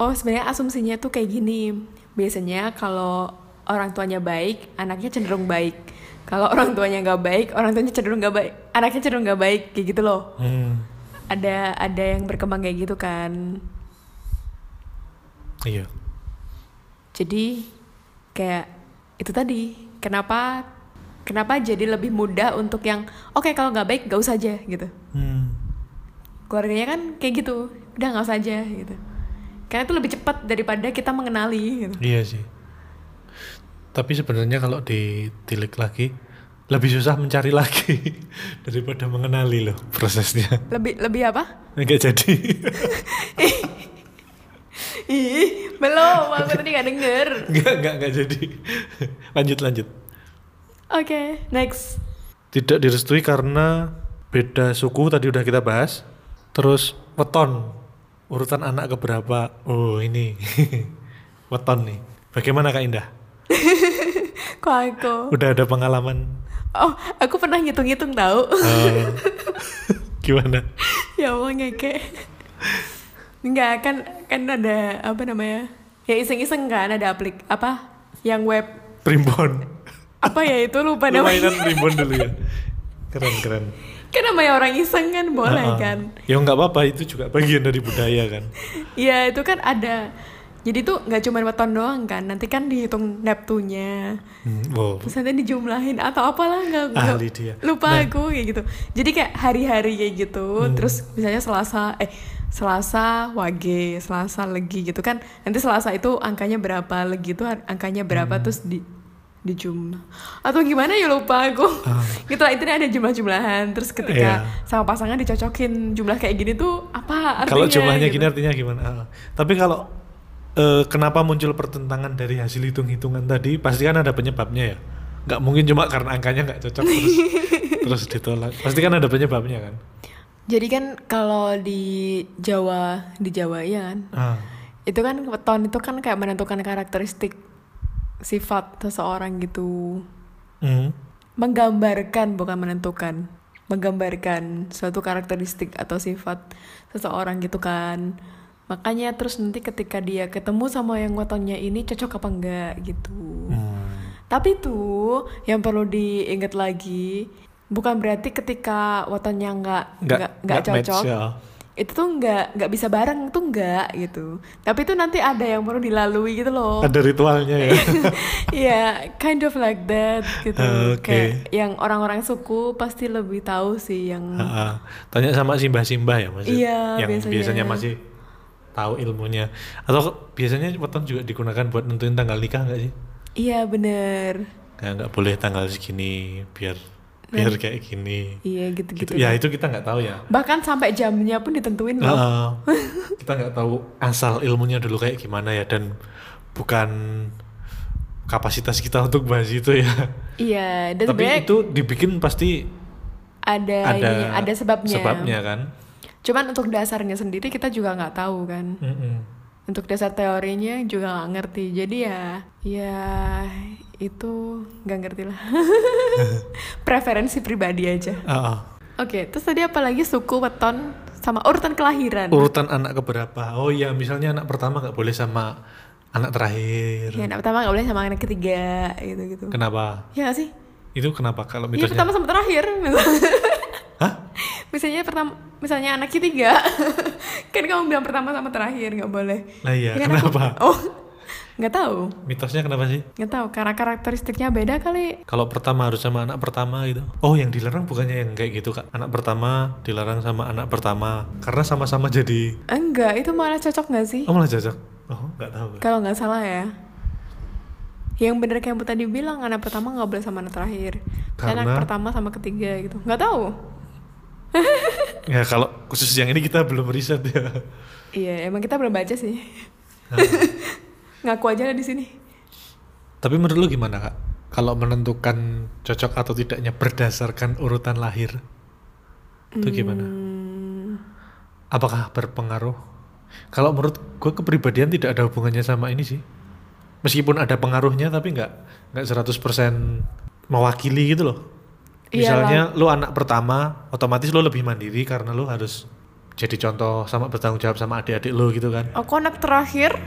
S1: oh sebenarnya asumsinya tuh kayak gini biasanya kalau orang tuanya baik anaknya cenderung baik kalau orang tuanya nggak baik orang tuanya cenderung nggak baik anaknya cenderung nggak baik kayak gitu loh
S2: Hmm.
S1: ada ada yang berkembang kayak gitu kan
S2: Iya.
S1: jadi kayak itu tadi kenapa kenapa jadi lebih mudah untuk yang oke kalau nggak baik gak usah aja gitu
S2: Hmm.
S1: keluarganya kan kayak gitu udah nggak usah aja gitu karena itu lebih cepat daripada kita mengenali gitu
S2: Iya sih. Tapi sebenarnya kalau ditilik lagi lebih susah mencari lagi daripada mengenali loh prosesnya.
S1: lebih lebih apa
S2: Enggak jadi.
S1: ih belum aku tadi nggak denger
S2: Enggak, enggak, enggak jadi. lanjut, lanjut.
S1: oke next
S2: Tidak direstui karena beda suku tadi udah kita bahas. Terus weton. Urutan anak keberapa? Oh, ini. weton nih. Bagaimana Kak Indah?
S1: kok aku
S2: Udah ada pengalaman?
S1: oh aku pernah ngitung-ngitung tahu
S2: Eh, gimana?
S1: ya Allah ngeke enggak kan kan ada apa namanya ya iseng-iseng kan ada aplik apa yang web
S2: Primbon.
S1: apa ya itu lupa
S2: Lu mainan
S1: namanya
S2: primbon dulu ya keren keren
S1: kan namanya orang iseng kan boleh
S2: Heeh.
S1: kan
S2: ya nggak apa apa itu juga bagian dari budaya kan
S1: Iya itu kan ada jadi tuh nggak cuma weton doang kan nanti kan dihitung neptunya
S2: Hmm, wow
S1: terus nanti dijumlahin atau apalah nggak nggak-
S2: ahli dia
S1: lupa
S2: Nah,
S1: aku kayak gitu jadi kayak hari-hari kayak gitu
S2: Hmm.
S1: terus misalnya selasa eh selasa wage selasa legi gitu kan nanti selasa itu angkanya berapa legi itu har- angkanya berapa
S2: Hmm.
S1: terus di dijumlah atau gimana ya lupa aku
S2: Ah.
S1: gitu lah intinya ada jumlah-jumlahan terus ketika
S2: Iya.
S1: sama pasangan dicocokin jumlah kayak gini tuh apa artinya
S2: kalau jumlahnya
S1: gitu.
S2: gini artinya gimana Ah. tapi kalau eh, kenapa muncul pertentangan dari hasil hitung hitungan tadi pasti kan ada penyebabnya ya nggak mungkin cuma karena angkanya nggak cocok terus terus ditolak pasti kan ada penyebabnya kan
S1: Jadi kan kalau di Jawa, di Jawa ya kan.
S2: Ah.
S1: Itu kan weton itu kan kayak menentukan karakteristik sifat seseorang gitu.
S2: Hmm.
S1: Menggambarkan bukan menentukan. Menggambarkan suatu karakteristik atau sifat seseorang gitu kan. Makanya terus nanti ketika dia ketemu sama yang wetonnya ini cocok apa enggak gitu.
S2: Hmm.
S1: Tapi tuh yang perlu diingat lagi bukan berarti ketika wetonnya nggak
S2: Nggak-
S1: nggak nggak
S2: nggak match,
S1: cocok
S2: ya.
S1: itu tuh nggak nggak bisa bareng tuh nggak gitu. Tapi itu nanti ada yang perlu dilalui gitu loh.
S2: ada ritualnya ya
S1: Iya, kind of like that gitu.
S2: Ah, oke.
S1: Kayak yang orang-orang suku pasti lebih tahu sih yang
S2: Heeh. Ah, Tanya sama simbah-simbah ya mas
S1: Iya,
S2: yang biasanya.
S1: biasanya.
S2: masih tahu ilmunya. Atau biasanya weton juga digunakan buat nentuin tanggal nikah nggak sih?
S1: iya bener.
S2: Nggak nggak boleh tanggal segini biar biar kayak gini.
S1: Nah, Iya gitu-gitu.
S2: Gitu. Ya itu kita nggak tahu ya.
S1: Bahkan sampai jamnya pun ditentuin loh.
S2: Heeh. kita nggak tahu asal ilmunya dulu kayak gimana ya dan bukan kapasitas kita untuk bahas itu ya.
S1: Iya, dan
S2: Tapi
S1: sebenarnya
S2: itu dibikin pasti
S1: ada
S2: ada
S1: ininya, ada sebabnya.
S2: Sebabnya kan.
S1: Cuman untuk dasarnya sendiri kita juga nggak tahu kan.
S2: Mm-mm.
S1: Untuk dasar teorinya juga nggak ngerti. Jadi ya, ya itu nggak ngerti lah. Preferensi pribadi aja.
S2: Heeh.
S1: Oke, terus tadi apalagi suku, weton, sama urutan kelahiran.
S2: urutan anak keberapa oh iya misalnya anak pertama nggak boleh sama anak terakhir
S1: Ya, anak pertama nggak boleh sama anak ketiga, gitu-gitu.
S2: kenapa
S1: Ya nggak sih?
S2: itu kenapa kalau
S1: Iya
S2: mitosnya
S1: pertama sama terakhir.
S2: hah
S1: misalnya pertama, misalnya anak ketiga, kan kamu bilang pertama sama terakhir nggak boleh.
S2: lah iya
S1: Ya kan aku-
S2: kenapa
S1: Oh, nggak tahu.
S2: mitosnya kenapa sih
S1: Nggak tahu karena karakteristiknya beda kali.
S2: kalau pertama harus sama anak pertama gitu oh yang dilarang bukannya yang kayak gitu kak anak pertama dilarang sama anak pertama karena sama-sama jadi
S1: Enggak, itu malah cocok nggak sih?
S2: oh malah cocok oh nggak tahu gue.
S1: Kalau nggak salah ya. Yang bener kayak yang tadi bilang anak pertama nggak boleh sama anak terakhir. Karena...
S2: Karena-
S1: Anak pertama sama ketiga gitu. Nggak tahu.
S2: ya kalau khusus yang ini kita belum riset ya
S1: Iya, emang kita belum baca sih.
S2: Nah,
S1: Ngaku aja lah di sini.
S2: tapi menurut lu gimana kak kalau menentukan cocok atau tidaknya berdasarkan urutan lahir itu gimana
S1: Hmm,
S2: apakah berpengaruh? Kalau menurut gue kepribadian tidak ada hubungannya sama ini sih. Meskipun ada pengaruhnya tapi nggak nggak 100% mewakili gitu loh. Misalnya lu anak pertama, otomatis lu lebih mandiri karena lu harus jadi contoh sama bertanggung jawab sama adik-adik lu gitu kan.
S1: aku anak terakhir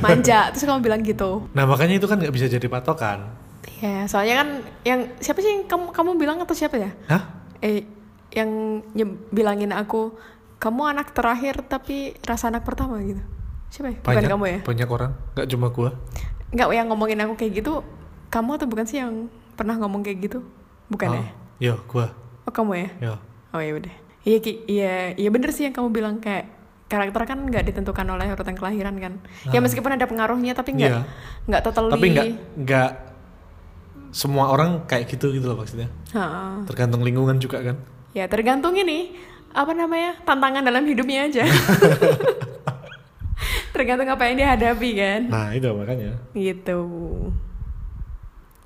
S1: manja terus kamu bilang gitu
S2: Nah makanya itu kan nggak bisa jadi patokan.
S1: ya soalnya kan yang siapa sih yang kamu kamu bilang atau siapa ya
S2: Hah?
S1: eh yang nye- bilangin aku kamu anak terakhir tapi rasa anak pertama gitu siapa ya? bukan
S2: Banyak,
S1: kamu ya
S2: banyak orang, nggak cuma gua.
S1: nggak yang ngomongin aku kayak gitu kamu atau bukan sih yang pernah ngomong kayak gitu bukan ya
S2: Oh, Yo, gua.
S1: oh kamu ya
S2: Yo.
S1: oh ya udah iya Ki. iya iya bener sih yang kamu bilang kayak karakter kan nggak ditentukan oleh urutan kelahiran kan ya meskipun ada pengaruhnya tapi nggak
S2: Ah. Iya.
S1: nggak totally
S2: Tapi nggak nggak semua orang kayak gitu gitu loh maksudnya.
S1: Ha-ha.
S2: Tergantung lingkungan juga kan.
S1: Ya tergantung ini apa namanya tantangan dalam hidupnya aja. tergantung apa yang dihadapi kan.
S2: Nah itu makanya.
S1: Gitu.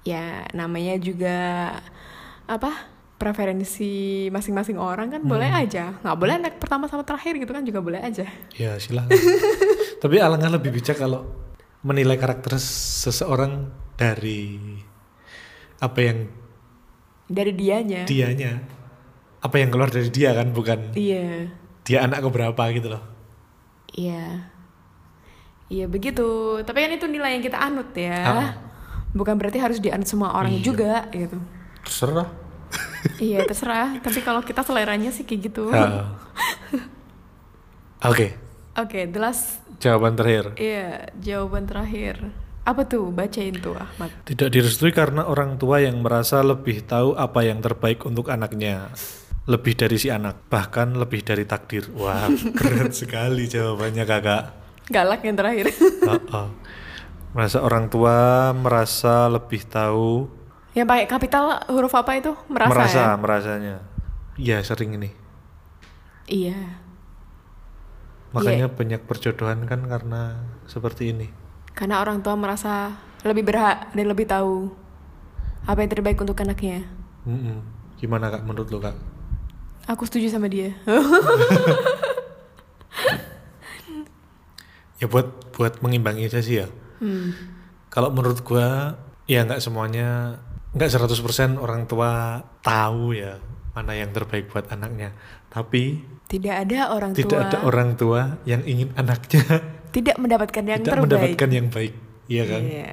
S1: Ya namanya juga apa preferensi masing-masing orang kan boleh
S2: Hmm.
S1: aja. Nggak boleh anak pertama sama terakhir gitu kan juga boleh aja.
S2: Ya silahkan. Tapi alangkah lebih bijak kalau menilai karakter seseorang dari apa yang
S1: Dari dianya.
S2: dianya, apa yang keluar dari dia kan, bukan
S1: Iya.
S2: dia anak keberapa gitu loh.
S1: Iya. Iya begitu. Tapi kan itu nilai yang kita anut ya.
S2: Ah.
S1: Bukan berarti harus dianut semua orang
S2: Iya.
S1: juga gitu.
S2: Terserah.
S1: iya terserah tapi kalau kita seleranya sih kayak gitu
S2: Oke,
S1: oke the last
S2: jawaban terakhir.
S1: iya jawaban terakhir apa tuh bacain tuh Ahmad
S2: Tidak direstui karena orang tua yang merasa lebih tahu apa yang terbaik untuk anaknya. Lebih dari si anak, bahkan lebih dari takdir. Wah, keren sekali jawabannya kakak.
S1: galak yang terakhir
S2: Oh, oh. Merasa orang tua merasa lebih tahu
S1: yang pakai kapital huruf apa itu merasa,
S2: merasa
S1: ya?
S2: merasanya. Ya sering ini.
S1: iya
S2: Makanya banyak perjodohan kan karena seperti ini.
S1: karena orang tua merasa lebih berhak dan lebih tahu apa yang terbaik untuk anaknya
S2: Mm-mm. Gimana kak menurut lo kak?
S1: aku setuju sama dia
S2: Ya buat buat mengimbangi aja sih ya.
S1: hmm.
S2: Kalau menurut gua ya nggak semuanya nggak 100% orang tua tahu ya mana yang terbaik buat anaknya. Tapi
S1: tidak ada orang
S2: tidak
S1: tua
S2: ada orang tua yang ingin anaknya
S1: tidak mendapatkan yang
S2: tidak
S1: terbaik
S2: mendapatkan yang baik. Iya kan?
S1: Iya.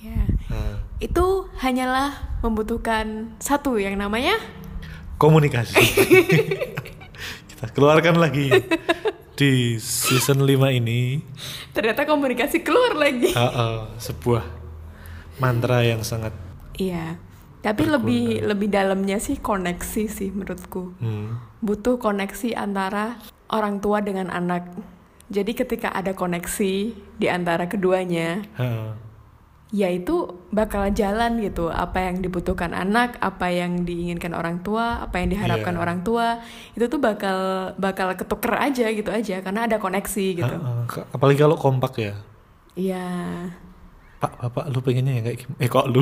S1: Iya.
S2: Nah,
S1: itu hanyalah membutuhkan satu yang namanya
S2: komunikasi. Kita keluarkan lagi di season 5 ini
S1: ternyata komunikasi keluar lagi.
S2: uh, uh, sebuah mantra yang sangat
S1: Iya. Tapi lebih lebih dalamnya sih koneksi sih menurutku.
S2: hmm,
S1: Butuh koneksi antara orang tua dengan anak. Jadi ketika ada koneksi di antara keduanya,
S2: uh,
S1: yaitu bakal jalan gitu apa yang dibutuhkan anak apa yang diinginkan orang tua apa yang diharapkan
S2: Iya.
S1: orang tua itu tuh bakal bakal ketuker aja gitu aja karena ada koneksi gitu
S2: uh, uh, apalagi kalau kompak ya.
S1: Iya
S2: Pak, bapak lu pengennya yang kayak gimana? Eh kok lu?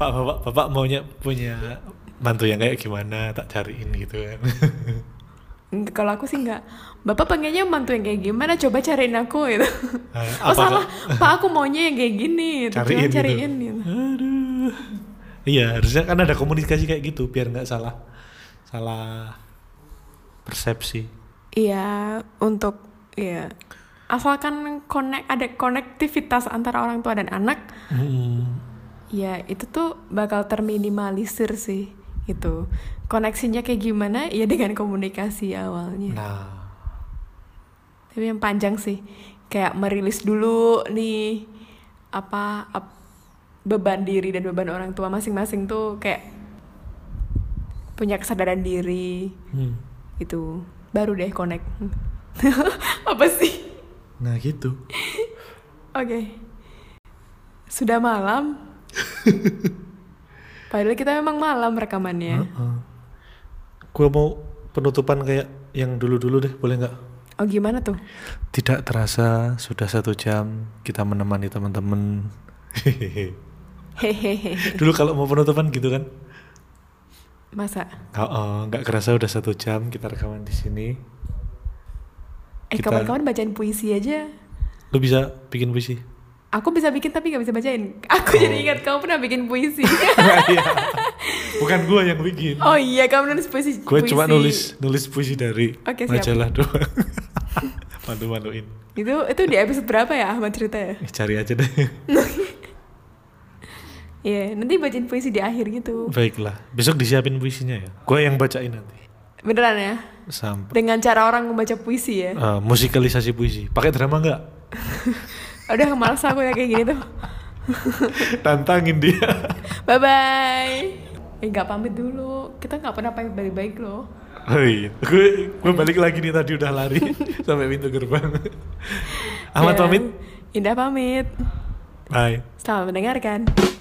S2: Pak, bapak, bapak maunya punya mantu yang kayak gimana? Tak cariin gitu kan.
S1: Nggak, kalau aku sih nggak bapak pengennya mantu yang kayak gimana coba cariin aku gitu
S2: Eh,
S1: oh
S2: apa, Kak?
S1: salah pak aku maunya yang kayak gini gitu. Coba
S2: Cariin gitu.
S1: cariin gitu.
S2: Aduh. Iya, harusnya kan ada komunikasi kayak gitu biar nggak salah salah persepsi.
S1: Iya, untuk ya asalkan connect ada konektivitas antara orang tua dan anak,
S2: Hmm.
S1: ya itu tuh bakal terminimalisir sih gitu. Koneksinya kayak gimana? Ya dengan komunikasi awalnya.
S2: Nah,
S1: Tapi yang panjang sih, kayak merilis dulu nih apa ap- beban diri dan beban orang tua masing-masing tuh kayak punya kesadaran diri
S2: hmm.
S1: gitu. Baru deh connect. apa sih?
S2: nah gitu.
S1: Oke. Sudah malam. Padahal kita memang malam rekamannya.
S2: Heeh. Gua mau penutupan kayak yang dulu-dulu deh, boleh nggak?
S1: Oh gimana tuh?
S2: Tidak terasa sudah satu jam kita menemani teman-teman.
S1: Hehehe.
S2: Dulu kalau mau penutupan gitu kan?
S1: Masa?
S2: Oh, oh, nggak kerasa udah satu jam kita rekaman di sini.
S1: Eh
S2: Kita-
S1: kawan-kawan bacain puisi aja.
S2: Lu bisa bikin puisi?
S1: Aku bisa bikin tapi nggak bisa bacain. Aku
S2: Oh.
S1: jadi ingat kamu pernah bikin puisi.
S2: Iya. bukan gue yang bikin
S1: Oh iya, kamu nulis puisi.
S2: gue cuma
S1: puisi.
S2: nulis nulis puisi dari
S1: Oke, siap.
S2: majalah doang mandu manduin
S1: Itu itu di episode berapa ya Ahmad cerita ya?
S2: Eh, cari aja deh
S1: Iya, nanti bacain puisi di akhir gitu.
S2: baiklah besok disiapin puisinya ya gue yang bacain nanti
S1: Beneran ya?
S2: sampai
S1: Dengan cara orang membaca puisi ya.
S2: eh, musikalisasi puisi pakai drama nggak
S1: Udah males aku ya kayak gini tuh.
S2: tantangin dia
S1: Bye bye. Eh nggak pamit dulu. Kita nggak pernah pamit baik-baik loh.
S2: Oh iya, gue, gue balik lagi nih tadi udah lari sampai pintu gerbang.
S1: Dan
S2: Ahmad
S1: Iya.
S2: pamit,
S1: Indah pamit.
S2: bye.
S1: Selamat mendengarkan.